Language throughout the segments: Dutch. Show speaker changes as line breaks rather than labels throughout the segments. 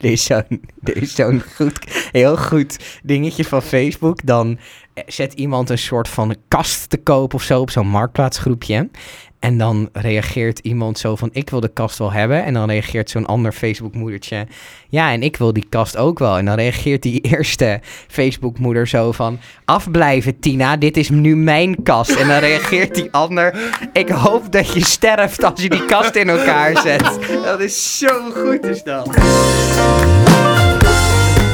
Er is zo'n er is zo'n goed, heel goed dingetje van Facebook. Dan eh, zet iemand een soort van kast te koop of zo op zo'n marktplaatsgroepje. En dan reageert iemand zo van, ik wil de kast wel hebben. En dan reageert zo'n ander Facebook-moedertje, ja, en ik wil die kast ook wel. En dan reageert die eerste Facebook-moeder zo van, afblijven Tina, dit is nu mijn kast. En dan reageert die ander, ik hoop dat je sterft als je die kast in elkaar zet. Dat is zo goed is dat.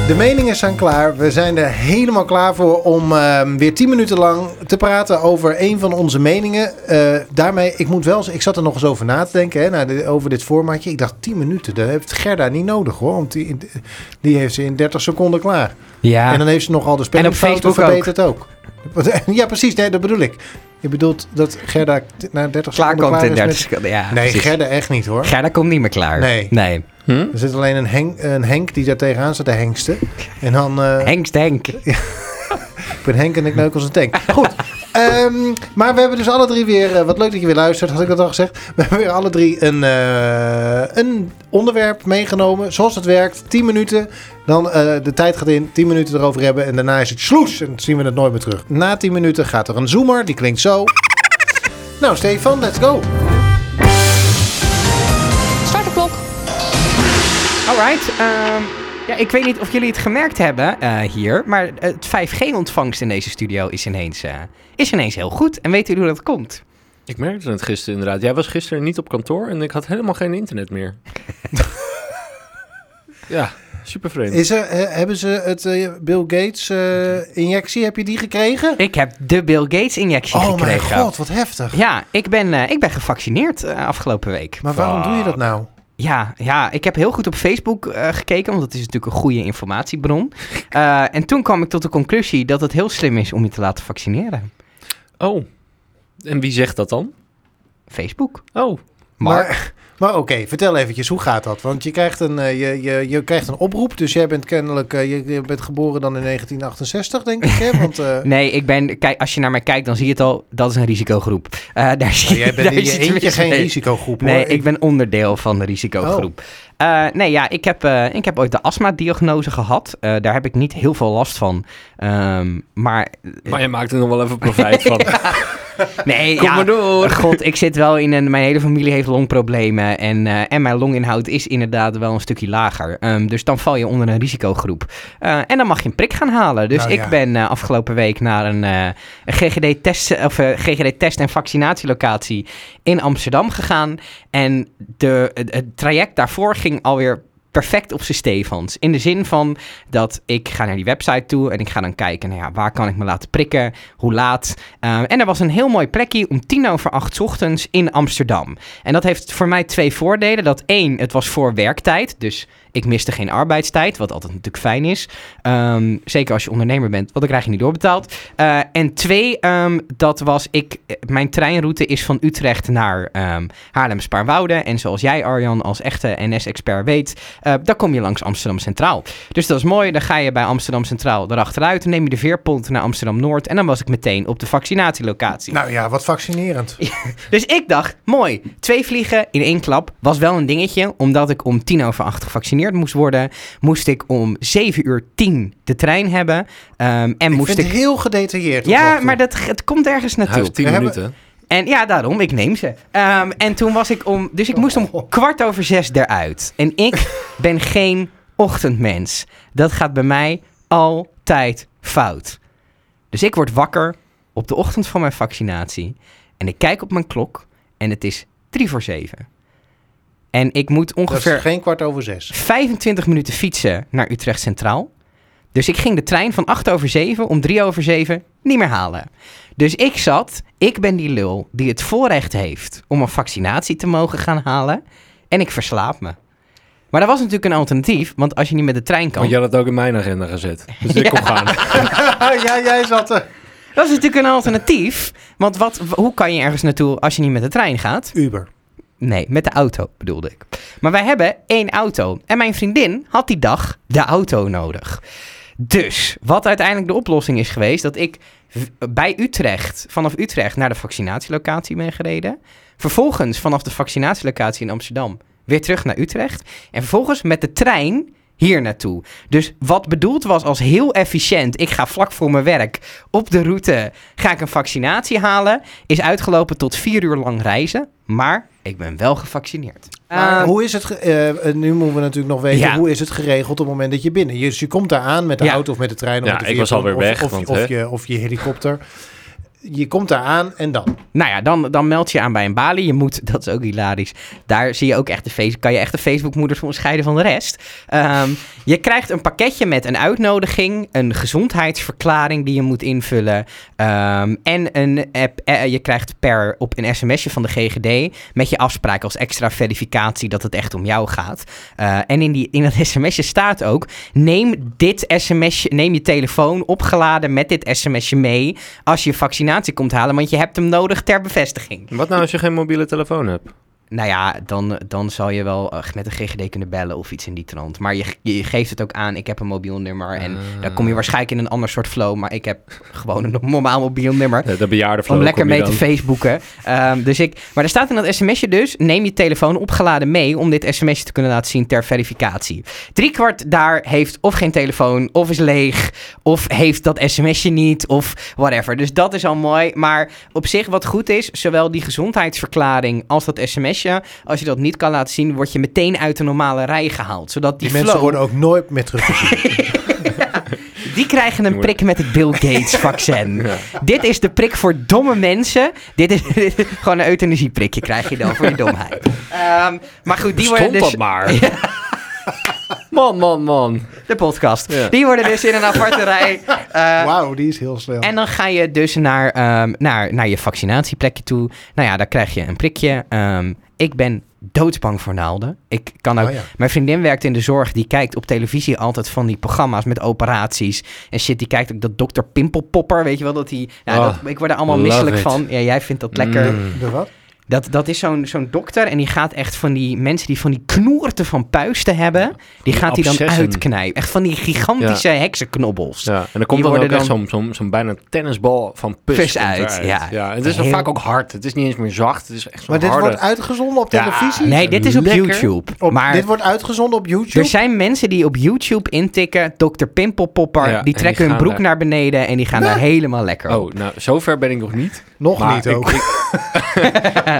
De meningen zijn klaar. We zijn er helemaal klaar voor om ehm, weer 10 minuten lang te praten over een van onze meningen. Eh, daarmee, ik moet wel, eens- ik zat er nog eens over na te denken hè, naar de- over dit formatje. Ik dacht 10 minuten, daar heeft Gerda niet nodig hoor. Want die, die heeft ze in 30 seconden klaar.
Ja.
En dan heeft ze nogal de
Facebook
spelfouten
ook.
verbeterd ook. Ja, precies, nee, dat bedoel ik. Je bedoelt dat Gerda t- na 30
klaar
seconden
komt
klaar
in 30
is met-
seconden. Ja,
Nee,
precies. Hm?
Gerda echt niet hoor.
Gerda komt niet meer klaar.
Nee.
nee.
Er zit alleen een Henk, een Henk die daar tegenaan zit, de Henkste. En dan... eh,
Hengst Henk.
Ik ben Henk en ik neuk als een tank. Goed. Ehm, maar we hebben dus alle drie weer... eh, wat leuk dat je weer luistert, had ik dat al gezegd. We hebben weer alle drie een, eh, een onderwerp meegenomen. Zoals het werkt. 10 minuten. Dan eh, de tijd gaat in. 10 minuten erover hebben. En daarna is het sloes. En dan zien we het nooit meer terug. Na 10 minuten gaat er een zoomer. Die klinkt zo. Nou, Stefan, let's go.
Start de klok.
Alright. ehm, ja, ik weet niet of jullie het gemerkt hebben eh, hier, maar het 5G-ontvangst in deze studio is ineens, eh, is ineens heel goed. En weten jullie hoe dat komt?
Ik merkte het gisteren inderdaad. Jij was gisteren niet op kantoor en ik had helemaal geen internet meer. ja, super vreemd.
Is er, eh, hebben ze het eh, Bill Gates eh, injectie? Heb je die gekregen?
Ik heb de Bill Gates-injectie
Oh mijn
gekregen.
god, wat heftig.
Ja, ik ben, eh, ik ben gevaccineerd eh, afgelopen week.
Maar waarom doe je dat nou?
Ja, ja, ik heb heel goed op Facebook eh, gekeken, want dat is natuurlijk een goede informatiebron. Eh, en toen kwam ik tot de conclusie dat het heel slim is om je te laten vaccineren.
Oh, en wie zegt dat dan?
Facebook.
Oh,
Mark.
Maar, maar oké, vertel eventjes, hoe gaat dat? Want je krijgt een, eh, je, je, je krijgt een oproep, dus jij bent kennelijk, eh, je, je bent geboren dan in 1968, denk ik, hè? Want eh,
Nee, ik ben, kijk, als je naar mij kijkt, dan zie je het al, dat is een risicogroep. Eh, daar zie,
jij bent
daar
in
is
je
het
eentje
mis
geen
mee.
risicogroep,
Nee,
hoor. Oh.
ik ben onderdeel van de risicogroep. Eh, nee, ja, ik heb, eh, ik heb ooit de astma-diagnose gehad. Eh, daar heb ik niet heel veel last van. Ehm, maar
maar je maakt er nog wel even profijt van.
nee,
Kom
ja,
maar door.
God, ik zit wel in een. Mijn hele familie heeft longproblemen. En, eh, en mijn longinhoud is inderdaad wel een stukje lager. Ehm, dus dan val je onder een risicogroep. Eh, en dan mag je een prik gaan halen. Dus
Nou
ik
ja.
ben eh, afgelopen week naar een, eh, een GGD-test of eh, GGD-test- en vaccinatielocatie in Amsterdam gegaan. En de, het, het traject daarvoor ging alweer. Perfect op z'n Stefans. In de zin van dat ik ga naar die website toe en ik ga dan kijken, nou ja, waar kan ik me laten prikken? Hoe laat? Uh, en er was een heel mooi plekje om tien over acht 's ochtends in Amsterdam. En dat heeft voor mij twee voordelen. Dat één, het was voor werktijd, dus ik miste geen arbeidstijd, wat altijd natuurlijk fijn is. Ehm, zeker als je ondernemer bent, want dan krijg je niet doorbetaald. Eh, en twee, ehm, dat was ik, eh, mijn treinroute is van Utrecht naar ehm, Haarlem-Spaarwoude. En zoals jij Arjan als echte NS-expert weet, eh dan kom je langs Amsterdam Centraal. Dus dat is mooi. Dan ga je bij Amsterdam Centraal erachteruit. Dan neem je de veerpont naar Amsterdam Noord. En dan was ik meteen op de vaccinatielocatie.
nou ja, wat fascinerend.
Dus ik dacht, mooi, twee vliegen in één klap. Was wel een dingetje, omdat ik om tien over acht gevaccineerd moest worden. Moest ik om zeven uur tien de trein hebben. Ehm, en
Ik
moest
vind
ik...
het heel gedetailleerd. tot nog
Ja,
toe.
maar dat, het komt ergens
Hij
naartoe.
heeft tien
We hebben-
minuten.
En ja, daarom, ik neem ze. Ehm, en toen was ik om. Dus ik moest
Oh.
om kwart over zes eruit. En ik ben geen ochtendmens. Dat gaat bij mij altijd fout. Dus ik word wakker op de ochtend van mijn vaccinatie. En ik kijk op mijn klok. En het is drie voor zeven. En ik moet
Dat
ongeveer
is geen kwart over zes.
25 minuten fietsen naar Utrecht Centraal. Dus ik ging de trein van 8 over 7 om 3 over 7 niet meer halen. Dus ik zat, ik ben die lul die het voorrecht heeft om een vaccinatie te mogen gaan halen. En ik verslaap me. Maar dat was natuurlijk een alternatief, want als je niet met de trein kan.
Want jij had het ook in mijn agenda gezet. Dus ik kon gaan.
ja, jij zat eh, er.
Dat is natuurlijk een alternatief. Want wat, w- hoe kan je ergens naartoe als je niet met de trein gaat?
Uber.
Nee, met de auto bedoelde ik. Maar wij hebben één auto. En mijn vriendin had die dag de auto nodig. Dus wat uiteindelijk de oplossing is geweest, dat ik v- bij Utrecht, vanaf Utrecht naar de vaccinatielocatie ben gereden. Vervolgens vanaf de vaccinatielocatie in Amsterdam weer terug naar Utrecht. En vervolgens met de trein hier naartoe. Dus wat bedoeld was als heel efficiënt, ik ga vlak voor mijn werk op de route, ga ik een vaccinatie halen, is uitgelopen tot vier uur lang reizen. Maar ik ben wel gevaccineerd.
Maar
Eh,
hoe is het, ge- eh, nu moeten we natuurlijk nog weten,
Ja.
hoe is het geregeld op het moment dat je binnen? Je, dus je komt daar aan met de
Ja.
auto of met de trein of
Ja,
met de
ik was
veerpont
alweer
of-
weg,
Of,
want, hè.
of, je, of je helikopter. Je komt daar aan en dan.
Nou ja, dan, dan meld je aan bij een balie. Je moet, dat is ook hilarisch. Daar zie je ook echt de face, kan je echt de Facebook-moeders onderscheiden van de rest. Ehm, je krijgt een pakketje met een uitnodiging, een gezondheidsverklaring die je moet invullen. ehm, en een app, eh, je krijgt per op een sms'je van de GGD met je afspraak als extra verificatie dat het echt om jou gaat. Eh, en in, die, in dat sms'je staat ook: neem dit sms'je, neem je telefoon opgeladen met dit sms'je mee als je vaccinatie komt halen, want je hebt hem nodig ter bevestiging.
Wat nou als je geen mobiele telefoon hebt?
Nou ja, dan, dan zal je wel eh, met de GGD kunnen bellen of iets in die trant. Maar je, je geeft het ook aan, ik heb een mobiel nummer en
Ah.
dan kom je waarschijnlijk in een ander soort flow, maar ik heb gewoon een normaal mobiel nummer.
De, de bejaarde
Om lekker mee te Facebooken. Ehm, dus ik, maar er staat in dat sms'je dus: neem je telefoon opgeladen mee om dit sms'je te kunnen laten zien ter verificatie. Driekwart daar heeft of geen telefoon, of is leeg, of heeft dat sms'je niet, of whatever. Dus dat is al mooi. Maar op zich, wat goed is, zowel die gezondheidsverklaring als dat sms'je, als je dat niet kan laten zien, word je meteen uit de normale rij gehaald. Zodat die,
Die mensen
flow-
worden ook nooit meer teruggezien.
die krijgen een prik met het Bill Gates vaccin. Dit is de prik voor domme mensen. Dit is gewoon een euthanasieprikje krijg je dan voor je domheid. Ehm, maar goed, die worden
Stond
dus...
dat maar. Man, man, man.
De podcast.
Ja.
Die worden dus in een aparte rij. eh,
Wauw, die is heel snel.
en dan ga je dus naar, ehm, naar, naar je vaccinatieplekje toe. Nou ja, daar krijg je een prikje. Ehm, ik ben doodsbang voor naalden. Ik kan ook
Oh ja.
Mijn vriendin werkt in de zorg. Die kijkt op televisie altijd van die programma's met operaties. En shit, die kijkt ook dat dokter Pimpelpopper. Weet je wel, dat die... Nou,
Oh,
dat, ik word er allemaal
love
misselijk
it.
van. Ja, jij vindt dat lekker.
Mm.
De wat?
Dat, dat is zo'n zo'n dokter en die gaat echt van die mensen die van die knoerten van puisten hebben... Die gaat die dan
abscessen.
uitknijpen. Echt van die gigantische heksenknobbels.
Ja, en er komt dan
worden
ook echt
dan-
zo'n zo'n zo'n bijna tennisbal van pus,
Pus
komt
uit,
eruit.
ja.
ja. Het is dan
Heel-
vaak ook hard. Het is niet eens meer zacht. Het is echt zo'n
Maar dit
harde...
wordt uitgezonden op
Ja.
televisie?
Nee, dit is op
Lekker.
YouTube.
Op-
maar
Dit wordt uitgezonden op YouTube?
Dus-
er zijn mensen die op YouTube intikken... Dr. Pimpelpopper,
Ja, en
die
die
trekken hun
gaan
broek
daar-
naar beneden... en die gaan daar helemaal lekker op.
Oh, nou, zover ben ik nog niet.
Nog
Maar
niet
ik-
ook.
ik-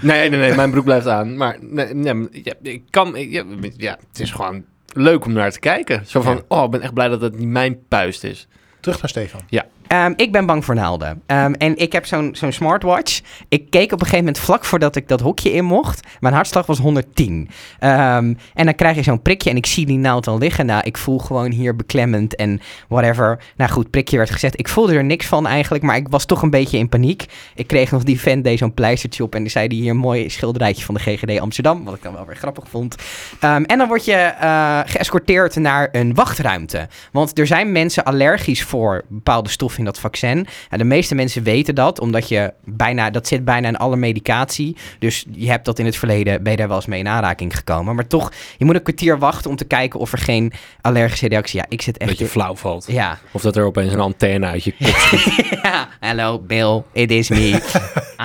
nee, nee, nee, mijn broek blijft aan. Maar nee, nee, ja, ik kan, ik- ja, ja, het is gewoon leuk om naar te kijken. Zo van, oh, ik ben echt blij dat het niet mijn puist is.
Terug naar Stefan.
Ehm, ik ben bang voor naalden. Ehm, en ik heb zo'n zo'n smartwatch. Ik keek op een gegeven moment vlak voordat ik dat hokje in mocht. Mijn hartslag was 110. Ehm, en dan krijg je zo'n prikje en ik zie die naald al liggen. Nou, ik voel gewoon hier beklemmend en whatever. Nou goed, prikje werd gezet. Ik voelde er niks van eigenlijk, maar ik was toch een beetje in paniek. Ik kreeg nog die vent deed zo'n pleistertje op en die zei die hier een mooi schilderijtje van de GGD Amsterdam. Wat ik dan wel weer grappig vond. Ehm, en dan word je eh, geëscorteerd naar een wachtruimte. Want er zijn mensen allergisch voor bepaalde stoffen in dat vaccin. En de meeste mensen weten dat, omdat je bijna, dat zit bijna in alle medicatie. Dus je hebt dat in het verleden, ben je daar wel eens mee in aanraking gekomen. Maar toch, je moet een kwartier wachten om te kijken of er geen allergische reactie... Ja, ik zit echt...
Dat je flauw valt.
ja.
Of dat er opeens een antenne uit je kop
ja, hello Bill, it is me.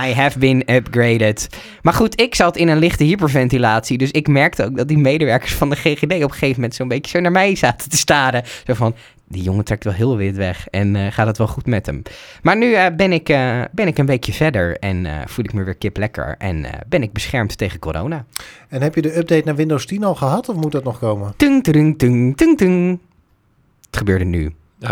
I have been upgraded. Maar goed, ik zat in een lichte hyperventilatie. Dus ik merkte ook dat die medewerkers van de GGD op een gegeven moment zo'n beetje zo naar mij zaten te staren. Zo van, die jongen trekt wel heel wit weg en eh, gaat het wel goed met hem. Maar nu eh, ben, ik, eh, ben ik een weekje verder en eh, voel ik me weer kip lekker. En eh, ben ik beschermd tegen corona.
En heb je de update naar Windows 10 al gehad of moet dat nog komen?
Tung, tung, tung, tung, tung. Het gebeurde nu.
Oh,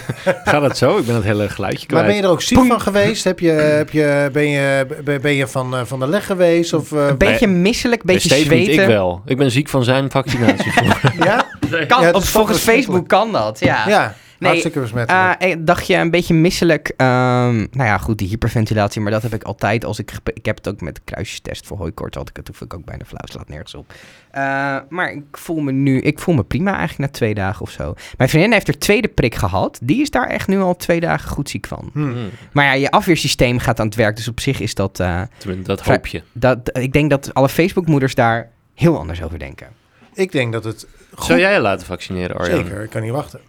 gaat dat zo? Ik ben dat hele geluidje
Maar
kwijt.
ben je er ook ziek van geweest? Heb je, heb je, ben, je, ben- ben je van, eh, van de leg geweest? Of, eh,
Een beetje misselijk, een
Nee,
beetje
Steven niet,
zweten.
ik wel. Ik ben ziek van zijn vaccinatie.
ja?
Kan,
Ja, het
op-
is
volgens
toch besmettelijk.
Facebook kan dat,
ja,
Nee,
hartstikke besmettelijk.
Eh, eh, dacht je een beetje misselijk. ehm, nou ja, goed, die hyperventilatie. Maar dat heb ik altijd als ik... gep- Ik heb het ook met de kruisjestest voor hooikoorts. Had ik het toen vond ik ook bijna flauw. Slaat nergens op. Eh, maar ik voel me nu... Ik voel me prima eigenlijk na twee dagen of zo. Mijn vriendin heeft er tweede prik gehad. Die is daar echt nu al twee dagen goed ziek van.
Hm.
Maar ja, je afweersysteem gaat aan het werk. Dus op zich is dat... eh,
Tenminste, dat hoop je.
dat ik denk dat alle Facebookmoeders daar heel anders over denken.
Ik denk dat het goed...
Zou jij je laten vaccineren, Arjan?
Zeker, ik kan niet wachten.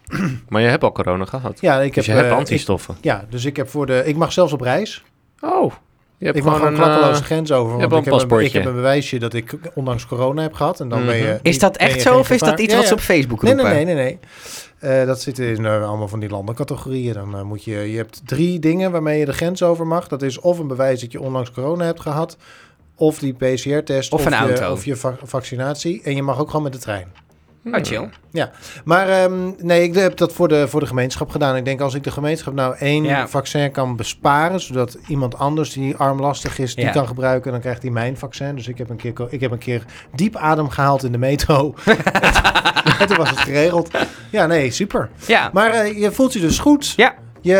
Maar je hebt al corona gehad.
Ja, ik
dus
heb,
je hebt
eh, ik-
antistoffen.
ja, dus ik heb voor de... Ik mag zelfs op reis.
Oh, Je hebt eh,
ik mag gewoon een klakkeloze grens over.
je
want
hebt wel
ik
een
Heb
paspoortje.
een, ik heb een bewijsje dat ik ondanks corona heb gehad. En dan ben je,
Mhm.
Is dat
ben je
echt
geen
zo of is dat
gevaar.
iets
Ja,
wat ze
ja.
op Facebook
Nee,
roepen?
nee, nee, nee. nee. Eh, dat zit in eh, allemaal van die landencategorieën. Dan eh, moet je, je hebt drie dingen waarmee je de grens over mag. Dat is of een bewijs dat je onlangs corona hebt gehad, of die PCR-test,
Of een
je,
auto.
of je va- vaccinatie. En je mag ook gewoon met de trein.
Oh, chill.
Maar ehm, nee, ik heb dat voor de, voor de gemeenschap gedaan. Ik denk als ik de gemeenschap nou één
Ja.
vaccin kan besparen, zodat iemand anders die armlastig is, die
Ja.
kan gebruiken, dan krijgt hij mijn vaccin. Dus ik heb een keer, ko- ik heb een keer diep adem gehaald in de metro. en toen was het geregeld. Ja, nee, super.
Ja.
Maar eh, je voelt je dus goed.
Ja.
Je,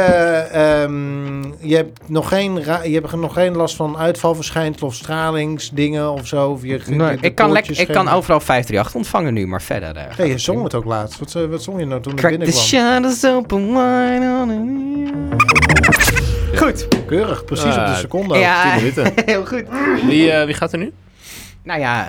ehm, je, hebt nog geen ra- je hebt nog geen last van uitvalverschijnsel of stralingsdingen of zo. Of je, je-
Nee,
de
ik, kan lek-
koortjes
ik kan
geen-
overal 538 ontvangen nu, maar verder. eh,
Hé, je zong het ook laatst. Wat, eh, wat zong je nou toen ik
Crack the
binnenkwam?
shadows open wide on Goed.
Keurig, precies op
Ah,
de seconde. ook.
Ja.
10 minuten.
Heel goed.
Wie, eh, wie gaat er nu?
Nou ja,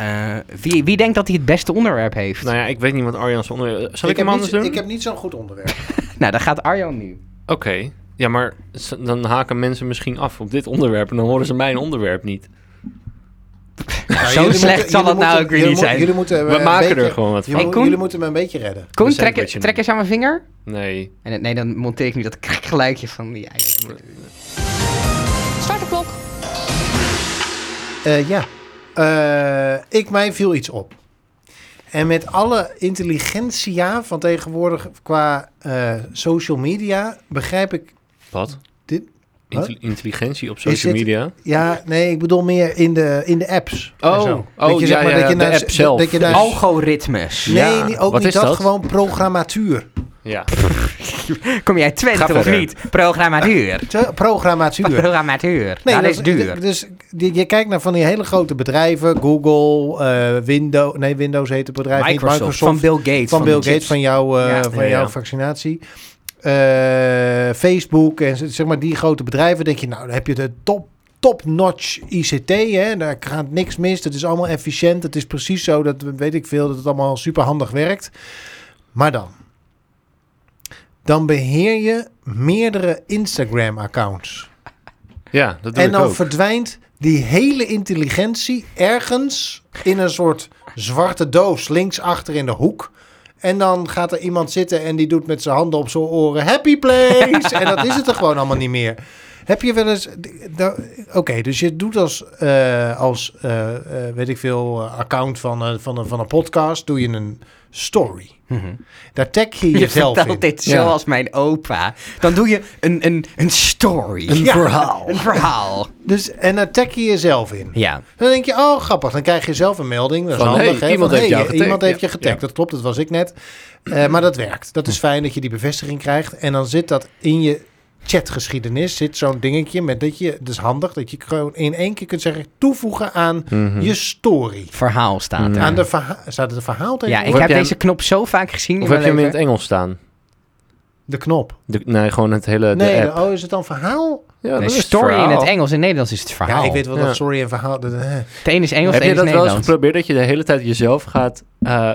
eh, wie, wie denkt dat hij het beste onderwerp heeft?
Nou ja, ik weet niet wat Arjan's onder... Zal
heb
ik, hem anders
niet,
doen?
Ik heb niet zo'n goed onderwerp.
Nou, dan gaat Arjan nu.
Oké. Ja, maar s- dan haken mensen misschien af op dit onderwerp en dan horen ze mijn onderwerp niet.
Nou,
Zo
jullie moeten-
slecht zal dat
jullie
nou
moeten-
ook weer
jullie
niet
moet-
zijn.
Jullie moeten me
We
een
maken
beetje-
er gewoon wat van.
jullie,
Hey, Koen?
jullie moeten me een beetje redden.
Koen,
Een
trek,
sandwichje
trek
nu.
eens aan mijn vinger.
Nee.
En het- nee, dan monteer ik nu dat krik geluidje van die eieren.
Start de klok.
Eh, ja. Eh, ik, mij viel iets op. En met alle intelligentia van tegenwoordig qua eh, social media begrijp ik...
Wat?
Dit-
Intel-
Wat?
intelligentie op
Is
social
dit-
media?
Ja, nee, ik bedoel meer in de, in de apps. en
Oh,
zo.
oh,
dat je,
ja,
zeg maar,
ja,
dat je
de
naar-
app zelf.
Dat je naar,
Algo-
Eh, Algoritmes.
nee,
Ja,
niet- ook
wat
niet
is
dat,
dat?
gewoon programmatuur.
Ja.
Kom jij Twente
Ga
of
verder.
niet? Programmatuur.
Zo, Programmatuur.
Programmatuur. dat is duur.
Dus je, je kijkt naar van die hele grote bedrijven, Google, eh Windows, nee Windows heet het bedrijf, niet,
Microsoft, Van Bill Gates.
van
de
Bill
chips.
Gates, van, jouw, eh,
Ja.
van
Ja, ja.
jouw vaccinatie. Eh, Facebook en z- zeg maar die grote bedrijven, denk je, nou dan heb je de top. Top-notch ICT, hè? daar gaat niks mis. Het is allemaal efficiënt. Het is precies zo, dat weet ik veel, dat het allemaal superhandig werkt. Maar dan? Dan beheer je meerdere Instagram-accounts.
Ja, dat doe
En
ik
dan
ook.
verdwijnt die hele intelligentie ergens in een soort zwarte doos linksachter in de hoek. En dan gaat er iemand zitten en die doet met zijn handen op zijn oren happy place. en dat is het er gewoon allemaal niet meer. Heb je wel eens... da- Oké, dus je doet als, eh, als eh, eh, weet ik veel, eh, account van, eh, van, een, van een podcast, doe je een story.
Mhm.
Daar tag je
Je
jezelf
vertelt
in.
dit
Ja.
zoals mijn opa. Dan doe je een, een, een story.
Een verhaal.
Een verhaal.
Dus, en daar tag je jezelf in.
Ja.
Dan denk je, oh grappig, dan krijg je zelf een melding. Dat is
Van,
handig,
hey,
hè?
iemand
Van,
heeft
hey,
jou getagd.
Iemand heeft
Ja.
je getagd,
Ja. Hm.
dat klopt, dat was ik net. Eh, maar dat werkt. Dat is fijn dat je die bevestiging krijgt. En dan zit dat in je chatgeschiedenis, zit zo'n dingetje met dat je... Dat is handig, dat je gewoon in één keer kunt zeggen... toevoegen aan
Mhm.
je story.
Verhaal staat er.
Aan de verha- staat het een verhaal tegen?
Ja, ik
heb
heb
jij
deze knop zo vaak gezien.
Of
in
heb je hem in
mijn
het Engels staan?
De knop.
De- nee, gewoon het hele de
nee,
app.
de- oh, is het dan verhaal? Oh.
ja,
leven.
dat is
Nee,
het
story in
verhaal.
het Engels, in Nederlands is het verhaal.
Ja, ik weet wel
Ja.
dat story en verhaal... dat- eh.
Het een is Engels, het
Heb je
een is
dat wel eens
Nederlands.
geprobeerd dat je de hele tijd jezelf gaat eh,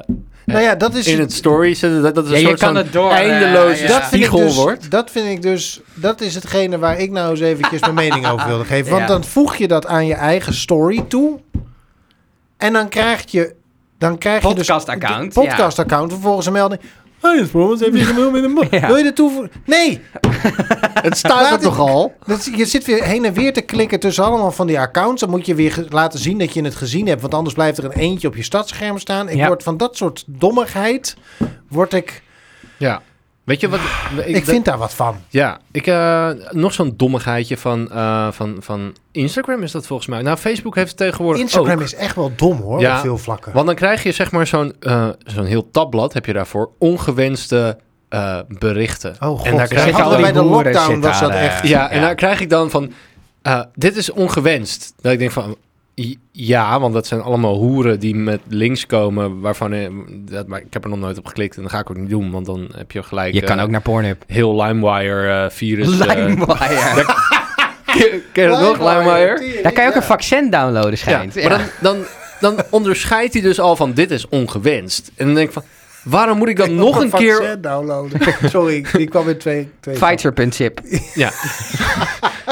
Nou ja, dat is
in het story zetten? Dat, dat is
Ja,
een
je
soort
kan
van
het door, eh,
eindeloze
ja.
dat vind ik
spiegel
dus,
wordt.
Dat vind ik dus, dat is hetgene waar ik nou eens eventjes mijn mening over wilde geven. Want
Ja.
dan voeg je dat aan je eigen story toe. En dan krijg je, dan krijg je dus
Podcast-account,
podcast account. Vervolgens een melding. Hey, dit is Brom, wat heb je gemeld met een man?
Ja.
Wil je dat toevoegen? Nee,
Het staat
Laat
er
ik-
toch al?
dat, je zit weer heen en weer te klikken tussen allemaal van die accounts. Dan moet je weer ge- laten zien dat je het gezien hebt. Want anders blijft er een eentje op je stadscherm staan. Ik
Ja.
word van dat soort dommigheid, word ik,
Ja. Weet je wat?
ik,
dat-
vind daar wat van.
Ja, ik, eh, nog zo'n dommigheidje van, eh, van, van Instagram is dat volgens mij. Nou, Facebook heeft het tegenwoordig
Instagram
ook.
is echt wel dom hoor,
Ja,
op veel vlakken.
Want dan krijg je zeg maar zo'n eh, zo'n heel tabblad heb je daarvoor. Ongewenste eh, berichten.
Oh god,
en daar
ja,
krijg je
hadden
al
bij
die...
de
boeren
lockdown
zitten
was dat
aan, eh,
echt.
Ja, en daar krijg ik dan van... eh, dit is ongewenst. Dat ik denk van... i- Ja, want dat zijn allemaal hoeren die met links komen, waarvan... eh, dat, maar ik heb er nog nooit op geklikt en dat ga ik ook niet doen, want dan heb je gelijk...
Je kan
eh,
ook naar Pornhub.
Heel LimeWire-virus.
LimeWire.
eh, ken je dat nog, LimeWire?
Daar kan je ook een vaccin downloaden,
Ja,
schijnt.
maar dan, dan, dan onderscheidt hij dus al van dit is ongewenst. En dan denk ik van, Waarom moet ik dat nog een keer...
downloaden. Sorry, die kwam in twee... twee
Fighter.zip.
Ja.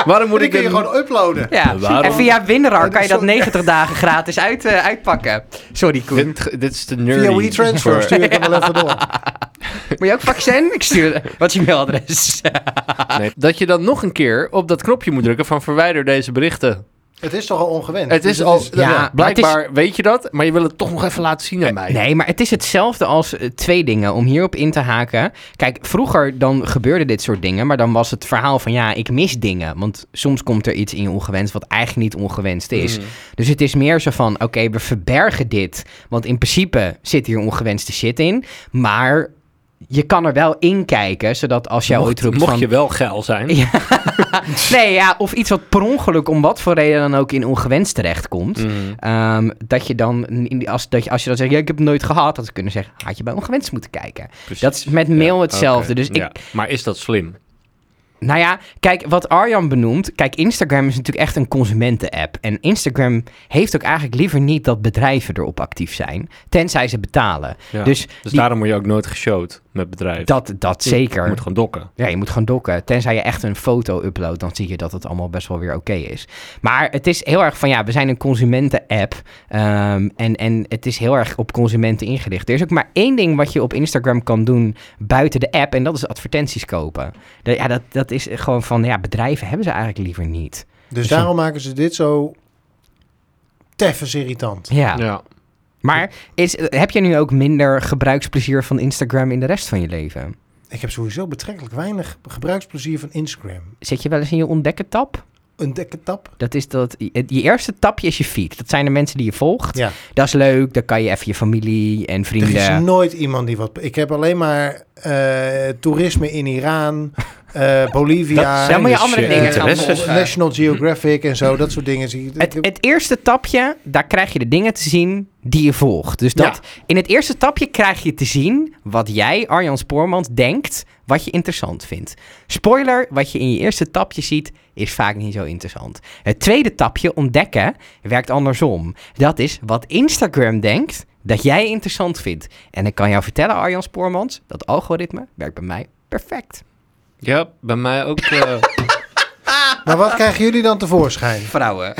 Waarom moet
Die
ik...
kun je
dat-
gewoon uploaden.
Ja.
Waarom?
En via WinRAR
Oh,
kan je dat
sorry.
90 dagen gratis uit, eh, uitpakken. Sorry, Koen.
Dit, ge- dit is de nerdy.
Via WeTransfer
voor-
stuur ik hem wel even door.
Moet je ook vaccin? Ik stuur... Wat is je mailadres?
Nee,
Ah.
dat je dan nog een keer op dat knopje moet drukken van verwijder deze berichten.
Het is toch al ongewend.
Het is
Dus
al...
ja, maar
ja,
het is- Eh,
blijkbaar weet je dat, maar je wil het toch nog even laten zien aan mij.
Nee, maar het is hetzelfde als eh, twee dingen. Om hierop in te haken. Kijk, vroeger dan gebeurde dit soort dingen. Maar dan was het verhaal van ja, ik mis dingen. Want soms komt er iets in je ongewenst wat eigenlijk niet ongewenst is.
Mm.
Dus het is meer zo van oké, we verbergen dit. Want in principe zit hier ongewenste shit in. Maar je kan er wel in kijken. Zodat als jij ooit
mocht,
roept
mocht
van...
je wel geil zijn.
Ja. Nee, ja, of iets wat per ongeluk om wat voor reden dan ook in ongewenst terechtkomt.
Mhm.
Ehm, dat je dan, in die- als, dat je, als je dan zegt, ja, ik heb het nooit gehad, dat ze kunnen zeggen, had je bij ongewenst moeten kijken.
Precies.
Dat is met mail
Ja,
hetzelfde.
oké.
Dus ik,
Ja, Maar is dat slim?
nou ja, kijk, wat Arjan benoemt, kijk, Instagram is natuurlijk echt een consumenten-app. En Instagram heeft ook eigenlijk liever niet dat bedrijven erop actief zijn, tenzij ze betalen.
Ja.
Dus,
Dus
die-
daarom word je ook nooit geshowt met bedrijven.
dat, dat
Je
zeker.
moet gewoon dokken.
Ja, je moet gewoon dokken. Tenzij je echt een foto uploadt, dan zie je dat het allemaal best wel weer oké is. Maar het is heel erg van, ja, we zijn een consumenten-app. ehm, en, en het is heel erg op consumenten ingericht. Er is ook maar één ding wat je op Instagram kan doen buiten de app. En dat is advertenties kopen. Dat- ja, dat, dat is gewoon van, ja, bedrijven hebben ze eigenlijk liever niet.
Dus daarom maken ze dit zo teffens irritant.
Ja. Maar is, heb je nu ook minder gebruiksplezier van Instagram in de rest van je leven?
Ik heb sowieso betrekkelijk weinig gebruiksplezier van Instagram.
Zit je wel eens in je ontdekken tab?
Een dikke tap.
Dat is dat, je eerste tapje is je feed. Dat zijn de mensen die je volgt.
Ja,
Dat is leuk, dan kan je even je familie en vrienden.
er is nooit iemand die wat... Ik heb alleen maar eh, toerisme in Iran, eh, Bolivia...
Dan moet je
dus
andere
je
dingen gaan
interesses.
volgen.
National Geographic en zo, dat soort dingen. Zie je.
Het, het eerste tapje, daar krijg je de dingen te zien die je volgt. Dus dat, in het eerste tapje krijg je te zien wat jij, Arjan Spoormans, denkt wat je interessant vindt. Spoiler, wat je in je eerste tapje ziet, is vaak niet zo interessant. Het tweede tapje, ontdekken, werkt andersom. Dat is wat Instagram denkt dat jij interessant vindt. En ik kan jou vertellen, Arjan Spoormans, dat algoritme werkt bij mij perfect.
Ja, bij mij ook. eh,
Maar wat krijgen jullie dan tevoorschijn?
Vrouwen.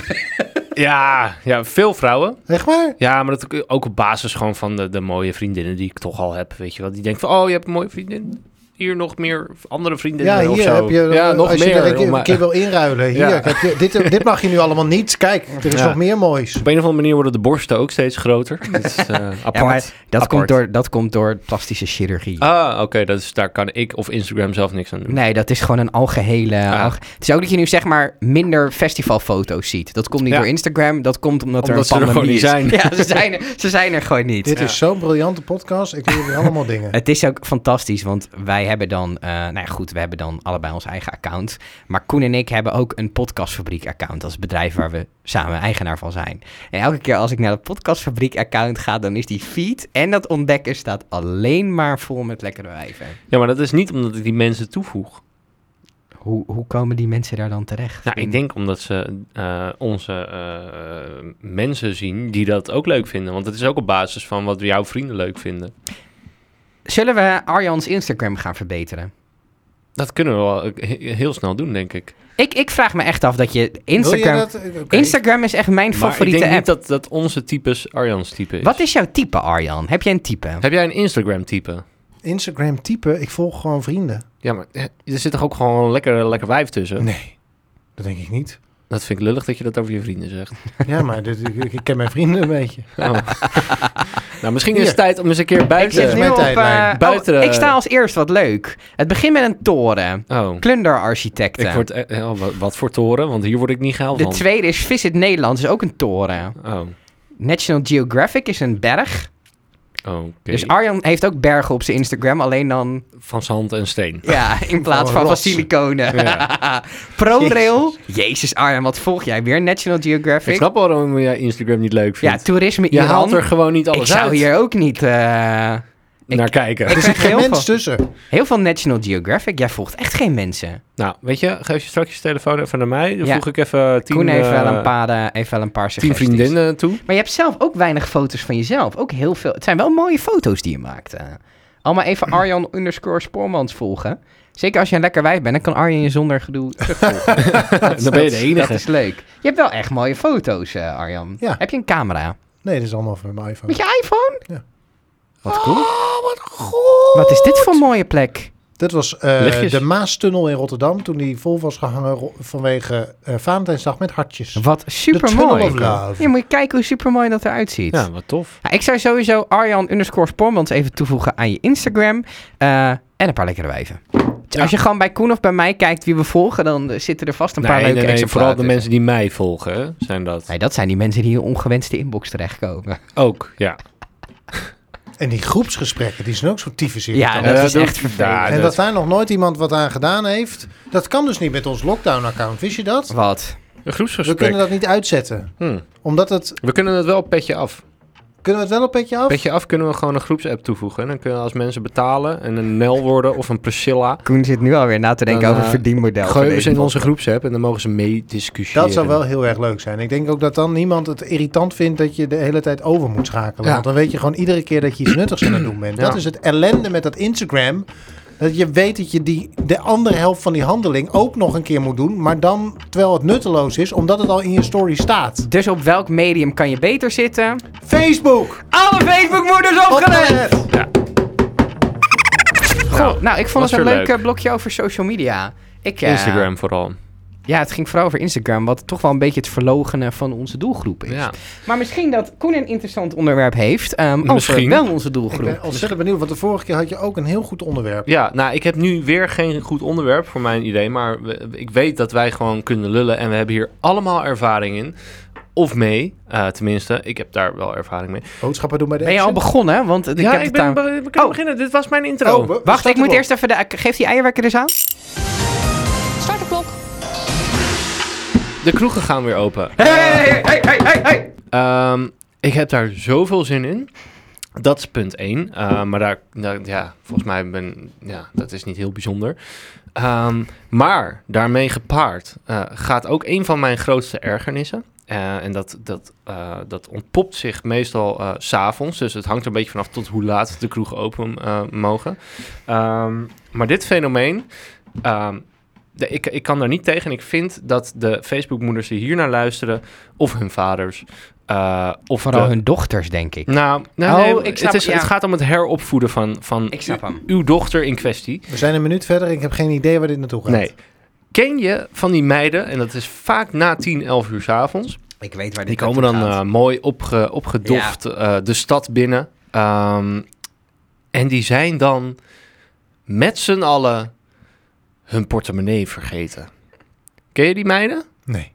ja, ja, veel vrouwen.
Echt waar?
Ja, maar dat ook- ook op basis gewoon van de, de mooie vriendinnen die ik toch al heb. Weet je wel, die denken van, oh, je hebt een mooie vriendin. Hier nog meer andere vriendinnen
Ja,
of
hier
zo.
heb je... eh,
ja, nog
als
meer.
je er een keer,
om- eh,
een keer wil inruilen. Hier,
Ja.
kijk, je- dit, dit mag je nu allemaal niet. Kijk, er is
Ja.
nog meer moois.
Op een of andere manier worden de borsten ook steeds groter. Dat is eh, apart.
Ja, maar dat,
Apart.
komt door, dat komt door plastische chirurgie.
Ah, oké, dat is- daar kan ik of Instagram zelf niks aan doen.
Nee, dat is gewoon een algehele...
Ah.
alge- Het is ook dat je nu zeg maar minder festivalfoto's ziet. Dat komt niet
Ja.
door Instagram, dat komt omdat,
Omdat ze
er
er
een pandemie
gewoon niet
is. Ja, ze zijn er, ze zijn er gewoon niet.
Dit is zo'n briljante podcast. Ik leer weer allemaal dingen.
Het is ook fantastisch, want wij hebben dan... eh, nou ja, goed, we hebben dan allebei ons eigen account. Maar Koen en ik hebben ook een podcastfabriek-account. Dat is het bedrijf waar we samen eigenaar van zijn. En elke keer als ik naar dat podcastfabriek-account ga... dan is die feed en dat ontdekken staat alleen maar vol met lekkere wijven.
Ja, maar dat is niet omdat ik die mensen toevoeg.
Hoe, hoe komen die mensen daar dan terecht?
Nou,
In-
ik denk omdat ze eh, onze eh, mensen zien die dat ook leuk vinden. Want het is ook op basis van wat jouw vrienden leuk vinden.
Zullen we Arjans Instagram gaan verbeteren?
Dat kunnen we wel eh, he- heel snel doen, denk ik.
Ik, ik vraag me echt af dat je
Wil
Instagram...
je dat? Eh, Oké.
Instagram is echt mijn
maar ik
favoriete
denk
app.
niet dat, dat onze types Arjan's type is.
Wat is jouw type, Arjan? Heb jij een type?
Heb jij een Instagram type?
Instagram typen, ik volg gewoon vrienden.
Ja, maar eh, er zit toch ook gewoon een lekker, lekker wijf tussen?
Nee, dat denk ik niet.
Dat vind ik lullig dat je dat over je vrienden zegt.
Ja, maar dit, ik, ik ken mijn vrienden een beetje.
Oh. nou, misschien is
Hier.
het tijd om eens een keer
Ik zit
buiten...
nu
mijn
op...
tijdlijn.
eh,
Buiten,
oh,
eh,
ik sta als eerst wat leuk. Het begint met een toren.
Oh,
Klunderarchitecten.
ik word... eh, oh, wa- wat voor toren? Want hier word ik niet gehaald
De
van.
tweede is Visit Nederland, is ook een toren.
Oh,
National Geographic is een berg.
oké.
Dus Arjan heeft ook bergen op zijn Instagram, alleen dan
van zand en steen.
ja, in plaats
Van
van van
rotsen.
siliconen. ProRail. Jezus Arjan, wat volg jij weer? National Geographic.
Ik snap wel waarom jij Instagram niet leuk
Ja,
vindt.
toerisme
je
Iran.
haalt er gewoon niet alles
ik zou
uit.
hier ook niet... eh, Ik-
naar kijken.
ik-
Er zit
krijg
geen
heel
mens
veel-
tussen.
Heel veel National Geographic. Jij volgt echt geen mensen.
Nou, weet je, geef je straks je telefoon even naar mij. Dan
Ja.
voeg ik even tien,
Koen heeft wel,
eh,
een paar, eh, heeft wel een paar
tien
suggesties.
vriendinnen toe.
Maar je hebt zelf ook weinig foto's van jezelf. Ook heel veel. Het zijn wel mooie foto's die je maakt. eh. Allemaal even Arjan underscore Spoormans volgen. Zeker als je een lekker wijf bent, dan kan Arjan je zonder gedoe terugvolgen.
dan ben je de
dat
enige.
is leuk. Je hebt wel echt mooie foto's, eh, Arjan.
Ja.
Heb je een camera?
Nee, dit is allemaal van mijn iPhone.
Met je iPhone?
Wat cool.
Wat is dit voor mooie plek?
Dit was eh,
Lichtjes.
de Maastunnel in Rotterdam. Toen die vol was gehangen ro- vanwege eh Valentijnsdag met hartjes.
Wat super
Tunnel
mooi.
of Love.
Je moet je kijken hoe super mooi dat eruit ziet.
Ja, wat tof.
Ja, ik zou sowieso Arjan underscore Spormans even toevoegen aan je Instagram. eh, en een paar lekkere wijven. Dus Als je gewoon bij Koen of bij mij kijkt wie we volgen, dan eh, zitten er vast een paar leuke exemplaren
vooral de
tussen.
mensen die mij volgen hè, zijn dat.
Nee, dat zijn die mensen die in je ongewenste inbox terechtkomen.
Ook, ja.
En die groepsgesprekken, die zijn ook zo tyfus in.
Ja, dat
dat
is
doe-
echt vervelend.
Ja,
en
dat-
dat daar nog nooit iemand wat aan gedaan heeft. Dat kan dus niet met ons lockdown-account, wist je dat?
Wat?
Een
We
groepsgesprek.
kunnen dat niet uitzetten.
Hmm.
Omdat het...
We kunnen het wel petje af.
Kunnen we het wel een petje af?
Petje af kunnen we gewoon een groepsapp toevoegen. En dan kunnen als mensen betalen en een Nel worden of een Priscilla...
Koen zit nu alweer na te denken
Dan,
over
eh,
het verdienmodel. van
Gooien we
deze
ze in
man.
onze groepsapp en dan mogen ze mee discussiëren.
Dat zou wel heel erg leuk zijn. Ik denk ook dat dan niemand het irritant vindt dat je de hele tijd over moet schakelen.
Ja.
Want dan weet je gewoon iedere keer dat je iets nuttigs aan het doen bent.
Ja.
Dat is het ellende met dat Instagram. Dat je weet dat je die, de andere helft van die handeling ook nog een keer moet doen. Maar dan terwijl het nutteloos is, omdat het al in je story staat.
Dus op welk medium kan je beter zitten? eh,
Facebook!
Alle Facebook-moeders opgelet!
Opgelet!
Goh, nou, ik vond
was
het een
weer
leuk
leuk.
eh, blokje over social media. Ik, eh,
Instagram vooral.
Ja, het ging vooral over Instagram, wat toch wel een beetje het verlogenen van onze doelgroep is.
Ja.
Maar misschien dat Koen een interessant onderwerp heeft ehm, over
Misschien.
wel onze
Ik
doelgroep.
ben ontzettend benieuwd, want de vorige keer had je ook een heel goed onderwerp.
ja, nou, ik heb nu weer geen goed onderwerp voor mijn idee. Maar we- ik weet dat wij gewoon kunnen lullen. En we hebben hier allemaal ervaring in. Of mee, eh, tenminste. Ik heb daar wel ervaring mee.
Boodschappen doen bij de
Ben je al
Action.
begonnen? Want eh, ik heb het daar-
we kunnen
Oh.
beginnen. Dit was mijn intro.
Oh, we- we
Wacht,
starten
ik moet
erop.
eerst even de... eh, Geef die eierwekker eens aan.
Start de klok.
De kroegen gaan weer open.
Hey, hey, hey, hey, hey.
Ehm, ik heb daar zoveel zin in. Dat is punt één. Eh, maar daar, daar- ja, volgens mij ben, ja, dat is niet heel bijzonder. Ehm, maar daarmee gepaard eh, gaat ook een van mijn grootste ergernissen. Eh, en dat, dat, eh, dat ontpopt zich meestal eh, s s'avonds. Dus het hangt er een beetje vanaf tot hoe laat de kroegen open eh, mogen. Ehm, maar dit fenomeen, ehm, de- ik, ik kan daar niet tegen. En ik vind dat de Facebookmoeders die hier naar luisteren, of hun vaders, eh, of
Vooral
de-
hun dochters, denk ik.
Nou, nee,
Oh,
nee,
ik snap-
het, is,
ja.
het gaat om het heropvoeden van, van
Ik snap
u-
hem.
uw dochter in kwestie.
We zijn een minuut verder, ik heb geen idee waar dit naartoe gaat.
Nee. Ken je van die meiden, en dat is vaak na 10, 11 uur 's avonds.
Ik weet waar
Die komen dan eh, mooi opge, opgedoft eh, de stad binnen. Ehm, en die zijn dan met z'n allen hun portemonnee vergeten. Ken je die meiden?
nee.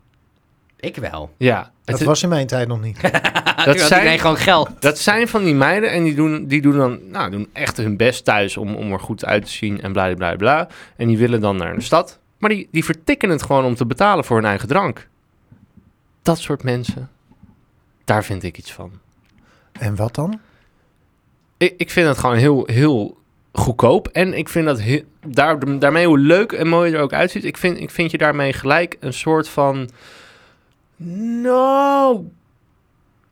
Ik wel.
Ja. het
Dat
is-
was in mijn tijd nog niet.
dat
zijn-
iedereen gewoon geld.
Dat zijn van die meiden en die doen, die doen dan nou, doen echt hun best thuis om, om er goed uit te zien en bla bla bla. En die willen dan naar de stad. Maar die, die vertikken het gewoon om te betalen voor hun eigen drank. Dat soort mensen, daar vind ik iets van.
En wat dan?
Ik, ik vind het gewoon heel, heel goedkoop. En ik vind dat he- daar, daarmee hoe leuk en mooi je er ook uitziet. Ik vind, ik vind je daarmee gelijk een soort van. Nou.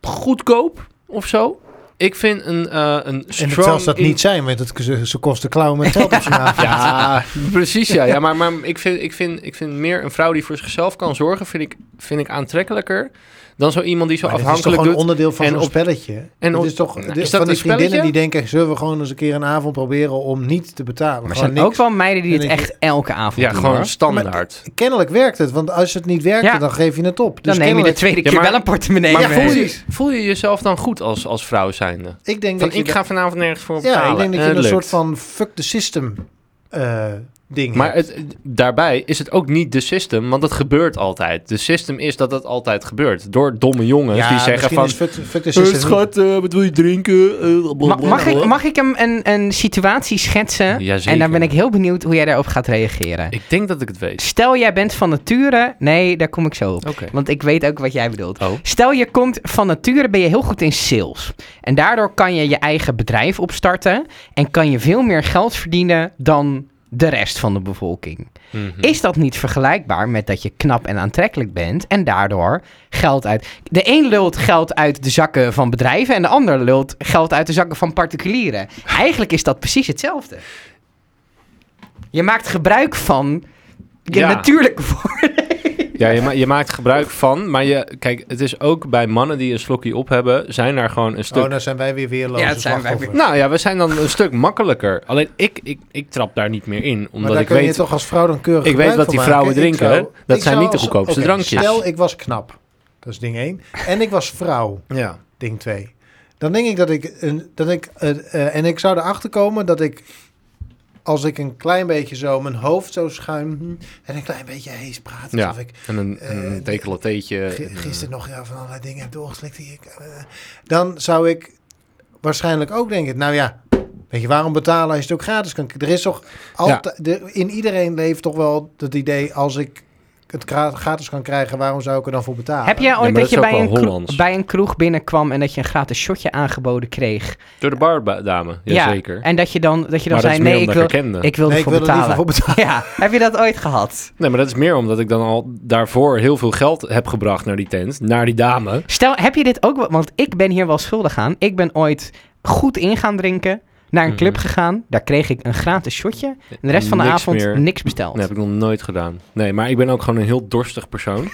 goedkoop of zo. Ik vind een, eh een
En
strong...
het zelfs dat
in-
niet zijn, want het, ze, ze kosten klauwen met geld op zijn avond.
Ja, precies ja. ja maar maar ik, vind, ik, vind, ik vind meer een vrouw die voor zichzelf kan zorgen... vind ik, vind ik aantrekkelijker dan zo iemand die zo
Maar dit is toch
afhankelijk
gewoon
doet.
onderdeel van
en
zo'n
op-
spelletje?
en
En
op-
is toch
Nou,
dit-
is dat
van die
een
vriendinnen die
spelletje?
denken... zullen we gewoon eens een keer een avond proberen om niet te betalen?
Maar er
Gewoon
zijn ook
niks.
wel meiden die
En
het
ik-
echt elke avond
Ja,
doen,
gewoon
hoor.
standaard.
Kennelijk werkt het, want als het niet werkt,
Ja.
dan geef je het op. Dus
Dan neem je de
kennelijk-
tweede keer
Ja, maar-
wel een portemonnee
Maar
mee.
voel, je, voel je jezelf dan goed als, als vrouw zijnde?
Ik denk
Van,
dat je
ik ga vanavond nergens voor
Ja,
betalen.
ik denk dat
En
je een
het
soort van
lukt.
fuck the system eh, ding
Maar
hebt.
het, daarbij is het ook niet de system, want dat gebeurt altijd. De system is dat dat altijd gebeurt. Door domme jongens die zeggen
misschien
van...
is fuck, fuck the
"Eh,
system niet-
schat, eh, wat wil je drinken? Eh,
Ma-
blablabla."
mag, ik, mag ik hem een, een situatie schetsen?
Jazeker.
en dan ben ik heel benieuwd hoe jij daarop gaat reageren.
Ik denk dat ik het weet.
Stel, jij bent van nature. Nee, daar kom ik zo op.
Oké.
Want ik weet ook wat jij bedoelt.
Oh.
Stel, je komt van nature, ben je heel goed in sales. En daardoor kan je je eigen bedrijf opstarten. En kan je veel meer geld verdienen dan de rest van de bevolking.
Mhm.
Is dat niet vergelijkbaar met dat je knap en aantrekkelijk bent en daardoor geld uit... De een lult geld uit de zakken van bedrijven en de ander lult geld uit de zakken van particulieren. Eigenlijk is dat precies hetzelfde. Je maakt gebruik van je
Ja.
natuurlijke voor.
Ja, je, ma- je maakt gebruik van, maar je, kijk, het is ook bij mannen die een slokje op hebben, zijn daar gewoon een stuk...
Oh, nou zijn wij weer weerloze
Ja, dat zijn wij
slachtoffers.
weer.
Nou ja, we zijn dan een stuk makkelijker. Alleen ik, ik, ik trap daar niet meer in,
Maar
omdat
daar
ik
kun je
weet...
toch als vrouw dan keurig
Ik weet
gebruik
wat
van
die
maken.
vrouwen
Ik
drinken,
zou-
hè? Dat
ik
zijn
zou
niet de
als-
goedkoopste
oké,
drankjes.
Stel, ik was knap. Dat is ding één. En ik was vrouw.
Ja.
Ding twee. Dan denk ik dat ik... Een, dat ik eh, eh, en ik zou erachter komen dat ik... Als ik een klein beetje zo mijn hoofd zo schuim... hm, En een klein beetje hees praat.
Ja.
Alsof ik
En een, een
Eh,
decolleteetje.
G- gisteren nog ja, van allerlei dingen heb doorgeslikt. Die ik, eh, dan zou ik waarschijnlijk ook denken, nou ja, weet je, waarom betalen als je het ook gratis kan k- Er is toch altijd, de- in iedereen leeft toch wel het idee, als ik het gra- gratis kan krijgen, waarom zou ik er dan voor betalen?
Heb jij
maar
ooit
dat
dat je
is ook
bij
wel
een, kro-
Hollands.
bij een kroeg binnenkwam en dat je een gratis shotje aangeboden kreeg?
Door de bardame, jazeker.
En dat je dan, dat je dan
maar
zei,
dat is meer
nee, ik
omdat
wil,
ik haar kende.
ik wil
nee, ik
ervoor
wil er liever
betalen.
voor betalen.
Ja, heb je dat ooit gehad?
Nee, maar dat is meer omdat ik dan al daarvoor heel veel geld heb gebracht naar die tent, naar die dame.
Stel, heb je dit ook wel? Want ik ben hier wel schuldig aan. Ik ben ooit goed in gaan drinken. Naar een club
Mhm.
gegaan. Daar kreeg ik een gratis shotje. En de rest van de
Niks
avond
meer.
niks besteld.
Dat heb ik nog nooit gedaan. Nee, maar ik ben ook gewoon een heel dorstig persoon.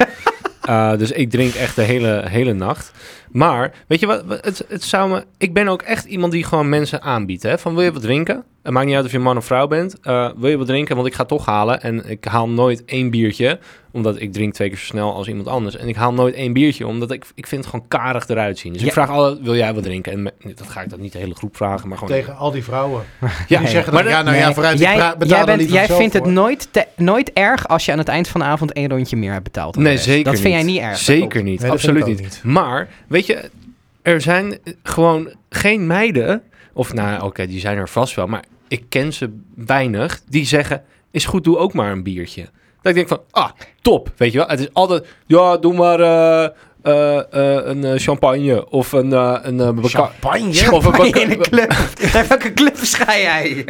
Eh, dus ik drink echt de hele, hele nacht. Maar, weet je wat, wat- het, het zou me, ik ben ook echt iemand die gewoon mensen aanbiedt. Hè? Van, wil je wat drinken? Het maakt niet uit of je man of vrouw bent. Eh, wil je wat drinken? Want ik ga toch halen. En ik haal nooit één biertje. Omdat ik drink twee keer zo snel als iemand anders. En ik haal nooit één biertje. Omdat ik, ik vind het gewoon karig eruit zien. Dus
Ja.
ik vraag alle, wil jij wat drinken? En me- dat ga ik dat niet de hele groep vragen. Maar gewoon,
Tegen al die vrouwen.
ja,
die zeggen
maar
dan,
dat-
ja, nou ja,
Nee,
vooruit, ik
jij,
pra- betaal
jij,
er
bent,
liever
jij
zelf
vindt het
voor.
nooit, te- nooit erg als je aan het eind van de avond één rondje meer hebt betaald. dan
Nee,
de rest.
zeker
Dat
niet.
vind jij niet erg.
Zeker niet,
Nee, dat
absoluut
vind
niet.
ik ook
Maar, weet je, er zijn eh, gewoon geen meiden... Of nou, oké, die zijn er vast wel, maar ik ken ze weinig... die zeggen, is goed, doe ook maar een biertje. Dat ik denk van, ah, top, weet je wel. Het is altijd, ja, doe maar eh, eh, eh, een eh, champagne of een... eh, een eh, beca-
Champagne?
Of een
Champagne
beca-
in een club. Naar welke club ga jij?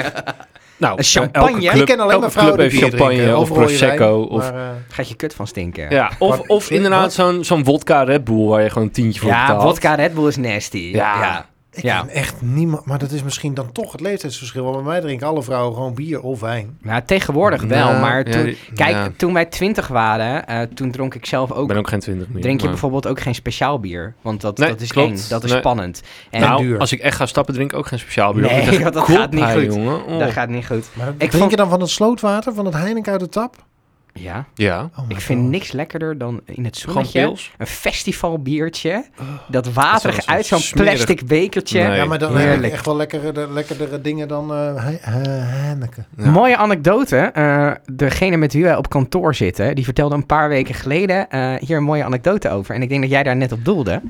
Nou,
Een
eh,
champagne?
elke
Ik
club-
ik ken alleen
elke
maar vrouwen
club
die
heeft
bier
champagne
drinken,
of
of rode wijn,
prosecco of...
maar, eh,
Gaat je kut van stinken.
ja, of,
Wat-
of inderdaad zo'n zo'n vodka Red Bull waar je gewoon een tientje voor
ja
betaalt.
vodka Red Bull is nasty.
Ja.
ik
Ja.
ken echt niemand, maar dat is misschien dan toch het leeftijdsverschil. Want bij mij drinken alle vrouwen gewoon bier of wijn.
Nou, tegenwoordig wel,
Ja,
maar
ja,
toen,
die-
kijk,
ja.
toen wij twintig waren, eh, toen dronk ik zelf
Ik
ook
ben ook geen twintig meer.
Drink je
maar-
bijvoorbeeld ook geen speciaal bier? Want dat,
Nee,
dat is
klopt.
eng, dat is
Nee.
spannend. En
nou,
duur.
als ik echt ga stappen, drink ik ook geen speciaal bier.
Nee,
Want dan
want dat
kop
gaat niet
hij,
goed.
Jongen. Oh.
dat gaat niet goed.
Maar dan
Ik
drink
vond-
je dan van het slootwater, van het Heineken uit de tap?
Ja,
Ja.
Oh my
ik vind
God.
niks lekkerder dan in het
Gewoon
zonnetje
pils. Oh,
een festivalbiertje. Dat
Dat
waterig
is wel
uit
zo'n
zo'n
smerig-
plastic bekertje.
Nee.
Ja, maar dan heb
Heerlijk.
ik echt wel lekkere, lekkerdere dingen dan eh, Hei- eh, Heineken.
Ja.
Mooie anekdote. eh, degene met wie wij op kantoor zitten, die vertelde een paar weken geleden eh, hier een mooie anekdote over. En ik denk dat jij daar net op doelde.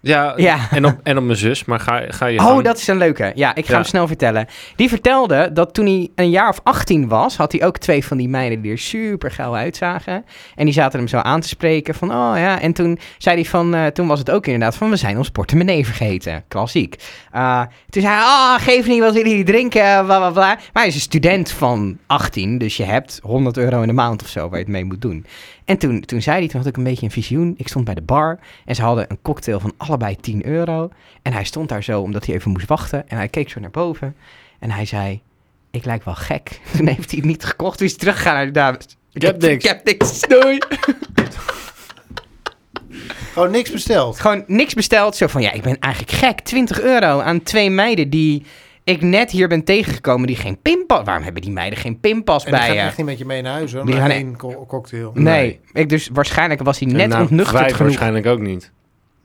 Ja,
Ja.
En, op, en op mijn zus, maar ga, ga je
Oh,
gang.
dat is een leuke. Ja, ik ga
Ja.
hem snel vertellen. Die vertelde dat toen hij een jaar of 18 was, had hij ook twee van die meiden die er super geil uitzagen. En die zaten hem zo aan te spreken van, oh ja. En toen zei hij van, eh, toen was het ook inderdaad van, we zijn ons portemonnee vergeten. Klassiek. Eh, toen zei hij, oh, geef niet, wat willen jullie drinken? eh, Bla, bla, bla. Maar hij is een student van 18, dus je hebt 100 euro in de maand of zo waar je het mee moet doen. En toen, toen zei hij, toen had ik een beetje een visioen. Ik stond bij de bar en ze hadden een cocktail van allebei 10 euro. En hij stond daar zo omdat hij even moest wachten. En hij keek zo naar boven. En hij zei: Ik lijk wel gek. Toen heeft hij het niet gekocht. Toen is hij teruggegaan naar de dames.
Ik heb niks.
Ik heb niks. Doei.
Gewoon niks besteld.
Gewoon niks besteld. Zo van: Ja, ik ben eigenlijk gek. 20 euro aan twee meiden die ik net hier ben tegengekomen. Die geen pinpas. Waarom hebben die meiden geen pinpas
En dat
bij
gaat
je?
echt niet met je mee naar huis, hoor.
Die
Maar
gaan-
één co- cocktail.
Nee. Ik dus waarschijnlijk was hij
En
net
nou,
ontnuchterd
wij
genoeg.
waarschijnlijk ook niet.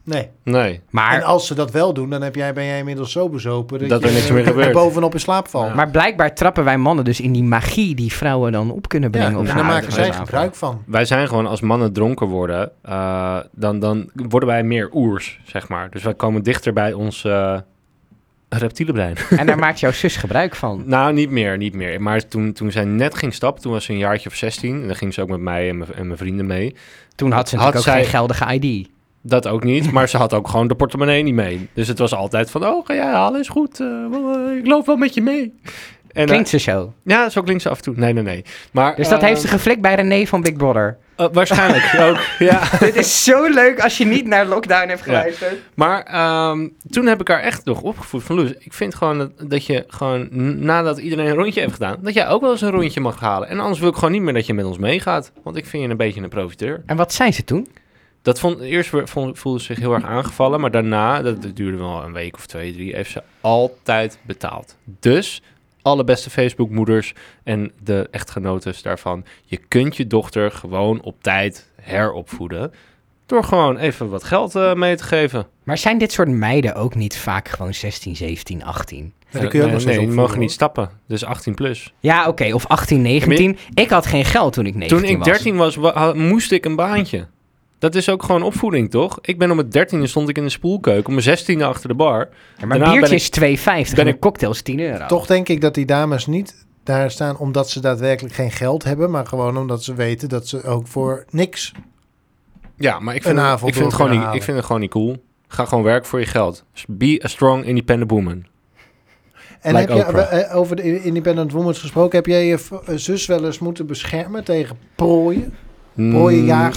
Nee.
Nee.
En
Maar,
als ze dat wel doen, dan heb jij, ben jij inmiddels zo bezopen...
Dat
je
er niks meer gebeurt.
bovenop in slaap valt.
Ja.
maar blijkbaar trappen wij mannen dus in die magie die vrouwen dan op kunnen brengen.
Ja,
op
en daar
zo'n
maken zij
avond.
gebruik van.
Wij zijn gewoon als mannen dronken worden, eh, dan, dan worden wij meer oers, zeg maar. Dus wij komen dichter bij ons eh reptiele brein.
En daar maakt jouw zus gebruik van.
nou, niet meer, niet meer. Maar toen, toen zij net ging stappen, toen was ze een jaartje of 16. En dan ging ze ook met mij en mijn- en mijn vrienden mee.
Toen had ze
Had
natuurlijk ook
zij-
geen geldige ID.
Dat ook niet, maar ze had ook gewoon de portemonnee niet mee. Dus het was altijd van, oh, ga jij halen, is goed. eh, wel, eh, ik loop wel met je mee. En,
Klinkt ze zo.
eh, ja, zo klinkt ze af en toe. Nee, nee, nee. Maar,
Dus dat
eh,
heeft ze geflikt bij René van Big Brother.
eh, waarschijnlijk ook, ja.
Dit is zo leuk als je niet naar Lockdown hebt geluisterd.
Maar ehm, toen heb ik haar echt nog opgevoed van Loes. Ik vind gewoon dat, dat je gewoon n- nadat iedereen een rondje heeft gedaan, dat jij ook wel eens een rondje mag halen. En anders wil ik gewoon niet meer dat je met ons meegaat, want ik vind je een beetje een profiteur.
En wat zei ze toen?
Dat vond eerst weer- vond, voelde ze zich heel erg aangevallen, maar daarna, dat, dat duurde wel een week of twee, drie, heeft ze altijd betaald. Dus alle beste Facebookmoeders en de echtgenotes daarvan, je kunt je dochter gewoon op tijd heropvoeden door gewoon even wat geld eh, mee te geven.
Maar zijn dit soort meiden ook niet vaak gewoon 16, 17, 18?
Maar die kun je ook nog
Eh, nee,
steeds
die
opvoeden,
mogen niet
hoor.
stappen. Dus 18 plus.
Ja, oké. of 18, 19. Ik had geen geld toen ik 19
Toen ik
was.
13 was, wa- ha- moest ik een baantje. Dat is ook gewoon opvoeding, toch? Ik ben om mijn 13e stond ik in de spoelkeuken. Om mijn 16e achter de bar.
Ja, maar
Daarna
biertje
ben ik-
is 2,50
ben
en
ik-
een cocktail is 10 euro.
Nou.
Toch denk ik dat die dames niet daar staan omdat ze daadwerkelijk geen geld hebben, maar gewoon omdat ze weten dat ze ook voor niks.
Ja, maar ik
Een
vind, het-
avond
ik vind, het,
door
gewoon
kunnen
niet, ik
halen.
vind het gewoon niet cool. Ga gewoon werken voor je geld. Dus Be a strong independent woman.
En
Like
heb je
Oprah.
eh, over de Independent Women's gesproken, heb jij je v- eh, zus wel eens moeten beschermen tegen prooien? Prooien
Mm,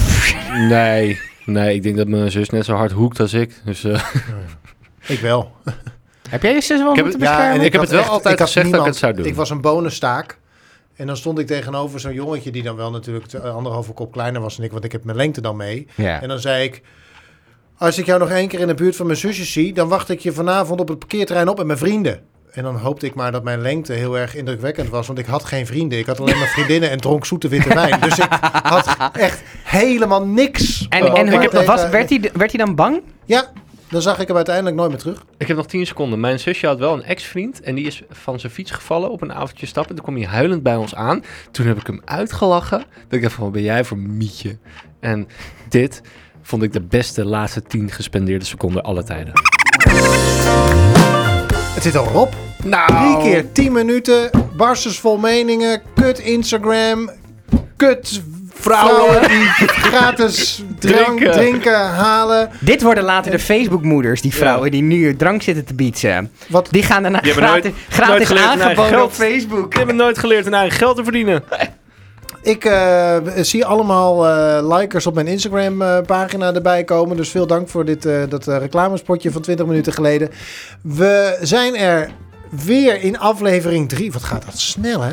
Nee, nee. Ik denk dat mijn zus net zo hard hoekt als ik. Dus, eh,
Ik wel.
Heb jij je zus wel
Ik heb
moeten
het- ja,
beschermen?
en ik- heb
had
het wel altijd
had
gezegd dat ik het zou doen.
Ik was een bonenstaak. En dan stond ik tegenover zo'n jongetje die dan wel natuurlijk te- anderhalve kop kleiner was dan ik, want ik heb mijn lengte dan mee.
Ja.
En dan zei ik, als ik jou nog één keer in de buurt van mijn zusje zie, dan wacht ik je vanavond op het parkeerterrein op met mijn vrienden. En dan hoopte ik maar dat mijn lengte heel erg indrukwekkend was, want ik had geen vrienden. Ik had alleen maar vriendinnen en dronk zoete witte wijn. Dus ik had echt helemaal niks.
En,
Oh,
om
en
elkaar
hoe-
tegen-
was, werd, hij, werd hij dan bang?
Ja, dan zag ik hem uiteindelijk nooit meer terug.
Ik heb nog 10 seconden. Mijn zusje had wel een ex-vriend en die is van zijn fiets gevallen op een avondje stappen. Toen kwam hij huilend bij ons aan. Toen heb ik hem uitgelachen. Dat ik dacht van, wat ben jij voor mietje? En dit vond ik de beste laatste 10 gespendeerde seconden alle tijden.
Het zit al op.
Nou,
Drie keer 10 minuten, barstens vol meningen, kut Instagram, kut vrouwen, die gratis drank
Drinken.
drinken, halen.
Dit worden later de Facebookmoeders, die vrouwen die nu drank zitten te bieden.
Wat,
Die gaan daarna
Je hebt me
gratis,
nooit- nooit
gratis
geleerd naar
aangeboden
geld.
op Facebook.
Ik heb hem nooit geleerd hun eigen geld te verdienen.
ik eh, zie allemaal eh, likers op mijn Instagram eh, pagina erbij komen, dus veel dank voor dit, eh, dat eh, reclamespotje van 20 minuten geleden. We zijn er weer in aflevering 3. Wat gaat dat snel hè?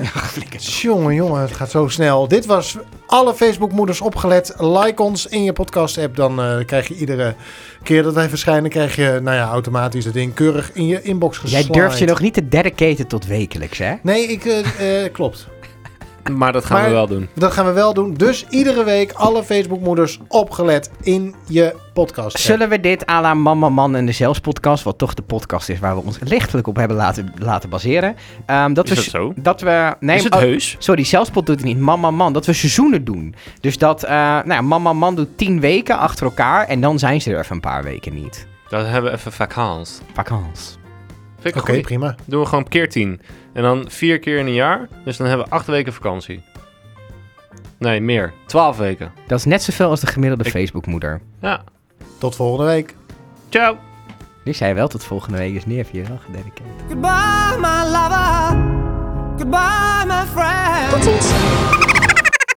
Jongen, jongen, het gaat zo snel. Dit was alle Facebookmoeders opgelet. Like ons in je podcast-app. Dan eh, krijg je iedere keer dat wij verschijnen, krijg je nou ja, automatisch het ding keurig in je inbox
Jij
geslaaid.
durft je nog niet te dedicaten tot wekelijks, hè?
Nee, ik, eh, eh, klopt.
Maar dat gaan
Maar-
we wel doen.
Dat gaan we wel doen. Dus iedere week alle Facebookmoeders opgelet in je podcast.
Zullen we dit à la Mama Man en de Zelfs podcast, wat toch de podcast is waar we ons lichtelijk op hebben laten, laten baseren. ehm, dat
Is
we,
dat
s-
zo?
Dat we, nee,
is het
oh,
heus?
Sorry, Zelfspot doet het niet. Mama Man, dat we seizoenen doen. Dus dat, eh nou ja, Mama Man doet tien weken achter elkaar en dan zijn ze er even een paar weken niet.
Dat hebben we even vakant.
Vakans.
Vind ik
Oké,
goed.
prima.
Doen we gewoon keer 10. En dan vier keer in een jaar. Dus dan hebben we acht weken vakantie. Nee, meer. Twaalf weken.
Dat is net zoveel als de gemiddelde
Ik-
Facebookmoeder.
Ja.
Tot volgende week.
Ciao.
Die eh. zei wel tot volgende week, dus nu heb je wel gededicateerd.
Goodbye, my lover. Goodbye.